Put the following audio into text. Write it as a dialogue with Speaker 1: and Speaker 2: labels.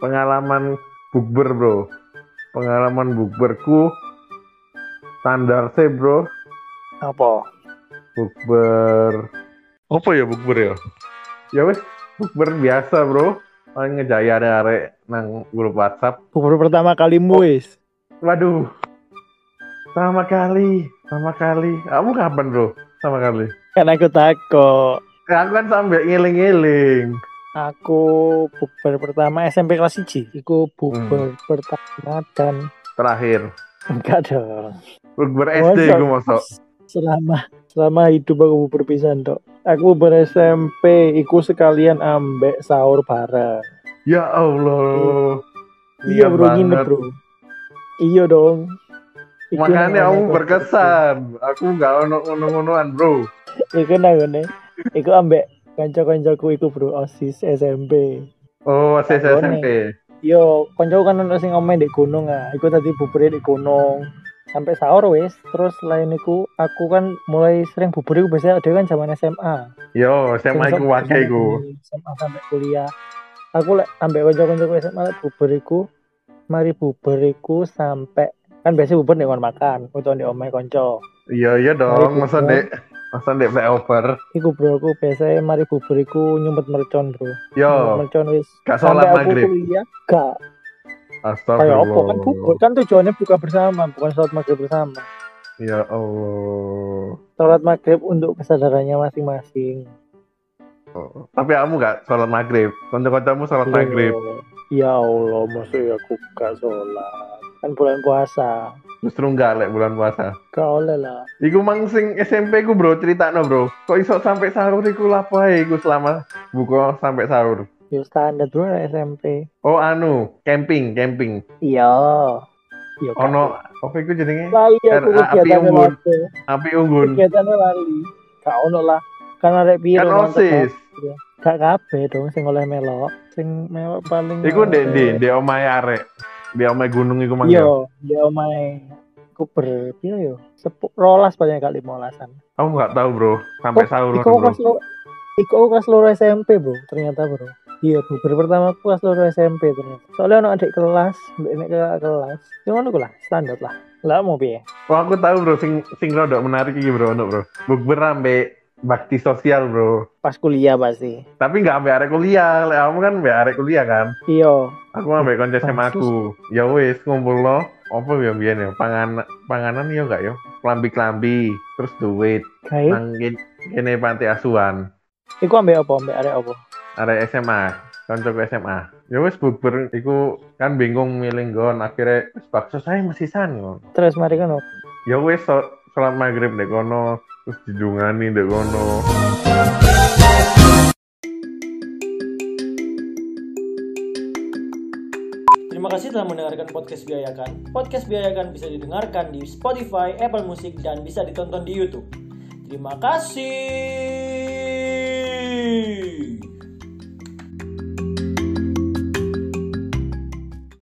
Speaker 1: pengalaman bukber bro pengalaman bukberku standar sih bro
Speaker 2: Apa?
Speaker 1: bukber apa ya bukber ya ya wes bukber biasa bro paling ngejaya ada arek nang grup WhatsApp
Speaker 2: Bubur pertama kalimu wis.
Speaker 1: waduh sama kali sama kali kamu kapan bro sama kali
Speaker 2: Kan aku takut.
Speaker 1: ya aku kan sambil ngiling-ngiling
Speaker 2: Aku bubur pertama SMP kelas 1. Iku bubur
Speaker 1: Hmm.
Speaker 2: pertama dan
Speaker 1: terakhir
Speaker 2: enggak dong.
Speaker 1: bukber SD
Speaker 2: Masa?
Speaker 1: gue masuk
Speaker 2: Selama selama hidup aku bubur pisan tok. Aku bubur SMP iku sekalian ambek sahur bareng.
Speaker 1: ya Allah
Speaker 2: Iya bro,
Speaker 1: banget.
Speaker 2: nginep bro. Iya dong. Iku
Speaker 1: Makanya
Speaker 2: nang-
Speaker 1: aku
Speaker 2: nang-
Speaker 1: berkesan. Aku nggak ono ngono-ngonoan, Bro.
Speaker 2: Iku nanggone. Iku ambek kanca-kancaku iku bro osis SMP.
Speaker 1: Oh, masih
Speaker 2: Nggak
Speaker 1: SMP.
Speaker 2: Yo, konco kan ono sing omeh di gunung ah. Iku tadi bubur di gunung. Sampai sahur wis, terus lain iku aku kan mulai sering bubur iku biasanya ada kan zaman SMA.
Speaker 1: Yo, SMA
Speaker 2: Sampai-
Speaker 1: iku wake iku.
Speaker 2: SMA sampai kuliah. Aku lek ambek kanca-kancaku SMA lek bubur iku mari bubur iku sampai kan biasanya bubur nek kon makan utawa di omeh kanca.
Speaker 1: Iya, iya dong,
Speaker 2: Mari
Speaker 1: masa
Speaker 2: bubur.
Speaker 1: Dek. Masa Dek over.
Speaker 2: Iku bro aku biasanya mari bubur iku nyumpet mercon bro. Nyumpet
Speaker 1: Yo,
Speaker 2: mercon wis.
Speaker 1: gak sholat
Speaker 2: Sampai aku
Speaker 1: maghrib.
Speaker 2: kuliah gak kayak apa kan bubur
Speaker 1: Astagfirullah.
Speaker 2: kan tujuannya buka bersama bukan sholat maghrib bersama
Speaker 1: Ya Allah.
Speaker 2: sholat maghrib untuk kesadarannya masing-masing
Speaker 1: Oh, Tapi kamu nggak sholat maghrib. Kanca-kancamu
Speaker 2: Iya.
Speaker 1: sholat maghrib.
Speaker 2: Loh, ya Allah maksud ya aku gak sholat kan bulan puasa
Speaker 1: Justru nggak lek bulan puasa.
Speaker 2: gak oleh lah
Speaker 1: Iku mang sing SMP ku bro ceritano bro. Kok iso sampai sahur iku lapai iku selama buka sampai sahur.
Speaker 2: ya standar dulu lah SMP
Speaker 1: Oh anu, camping, camping.
Speaker 2: iya iya kan.
Speaker 1: Ono apa iku jenenge?
Speaker 2: lali aku
Speaker 1: RA, api Hmm.
Speaker 2: kegiatannya
Speaker 1: unggun.
Speaker 2: lali
Speaker 1: Api unggun.
Speaker 2: kegiatannya lali gak ono lah karena ada piro
Speaker 1: Kan
Speaker 2: mantep
Speaker 1: OSIS.
Speaker 2: lah. gak kabeh dong sing oleh melok sing melok paling
Speaker 1: Iku
Speaker 2: oleh-
Speaker 1: ndek ndi? Ndek omahe arek. Ndek omahe gunung iku mang. ya?
Speaker 2: Iya, Iya, iya omae. Aku ber, piro yo? Sepu, rolas paling kali molasan.
Speaker 1: Aku nggak tahu, Bro. Sampai
Speaker 2: Oh,
Speaker 1: sahur
Speaker 2: Iku aku
Speaker 1: bro.
Speaker 2: kelas loro, iku aku kelas loro SMP bro, ternyata bro. Iya, bubur pertama aku kelas loro SMP ternyata. Soalnya ono adik kelas, mbak nek kakak kelas. Ya ngono ku lah, standar lah. Lah mau piye?
Speaker 1: Oh, aku tahu, Bro, sing sing rodok menarik iki, Bro, ono, Bro. Bukber ambek bakti sosial, Bro.
Speaker 2: Pas kuliah pasti.
Speaker 1: Tapi nggak ambek arek kuliah. Lek kamu kan ambek arek kuliah kan.
Speaker 2: Iya,
Speaker 1: Aku ambek konco
Speaker 2: Bakti
Speaker 1: SMA aku. Ya wis, ngumpul lo. Apa ya biyen ya? Pangan panganan ya enggak ya? Klambi-klambi, terus duit.
Speaker 2: kayak
Speaker 1: Nang kene- kene panti asuhan.
Speaker 2: iku ambek apa? Ambek arek apa?
Speaker 1: arek SMA, kancaku SMA. Ya wis bukber iku kan bingung milih nggon akhirnya wis bakso saya masih san ngono.
Speaker 2: Terus mari kan
Speaker 1: Ya wis so- sholat maghrib dek kono, terus didungani dek kono.
Speaker 3: Terima kasih telah mendengarkan podcast Biayakan. Podcast Biayakan bisa didengarkan di Spotify, Apple Music, dan bisa ditonton di YouTube. Terima kasih.